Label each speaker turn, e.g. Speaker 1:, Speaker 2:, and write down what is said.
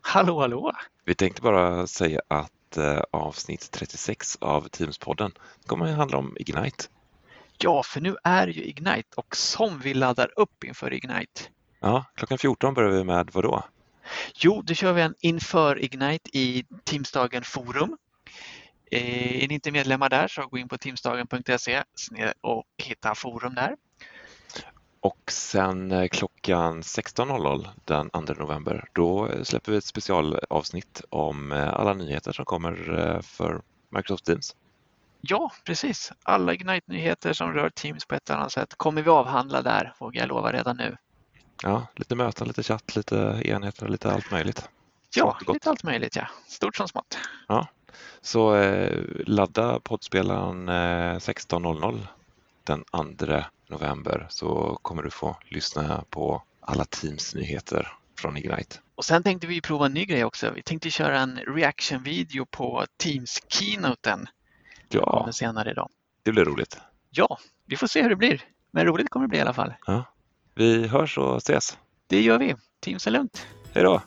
Speaker 1: Hallå, hallå!
Speaker 2: Vi tänkte bara säga att eh, avsnitt 36 av Teamspodden kommer att handla om Ignite.
Speaker 1: Ja, för nu är ju Ignite och som vi laddar upp inför Ignite.
Speaker 2: Ja, klockan 14 börjar vi med vad då?
Speaker 1: Jo, då kör vi en inför Ignite i Teamsdagen Forum. Eh, är ni inte medlemmar där så gå in på teamsdagen.se sne- och hitta forum där.
Speaker 2: Och sen eh, klockan 16.00 den 2 november, då eh, släpper vi ett specialavsnitt om eh, alla nyheter som kommer eh, för Microsoft Teams.
Speaker 1: Ja, precis. Alla Ignite-nyheter som rör Teams på ett eller annat sätt kommer vi avhandla där, vågar jag lova redan nu.
Speaker 2: Ja, lite möten, lite chatt, lite enheter, lite allt möjligt.
Speaker 1: Ja,
Speaker 2: Smått och gott.
Speaker 1: lite allt möjligt ja. Stort som smått.
Speaker 2: Så eh, ladda poddspelaren eh, 16.00 den 2 november så kommer du få lyssna på alla Teams nyheter från Ignite.
Speaker 1: Och sen tänkte vi prova en ny grej också. Vi tänkte köra en reaction-video på Teams-keynoten
Speaker 2: Ja,
Speaker 1: kommer senare idag.
Speaker 2: det blir roligt.
Speaker 1: Ja, vi får se hur det blir. Men roligt kommer det bli i alla fall.
Speaker 2: Vi hörs och ses.
Speaker 1: Det gör vi. Teams är lugnt.
Speaker 2: Hej då!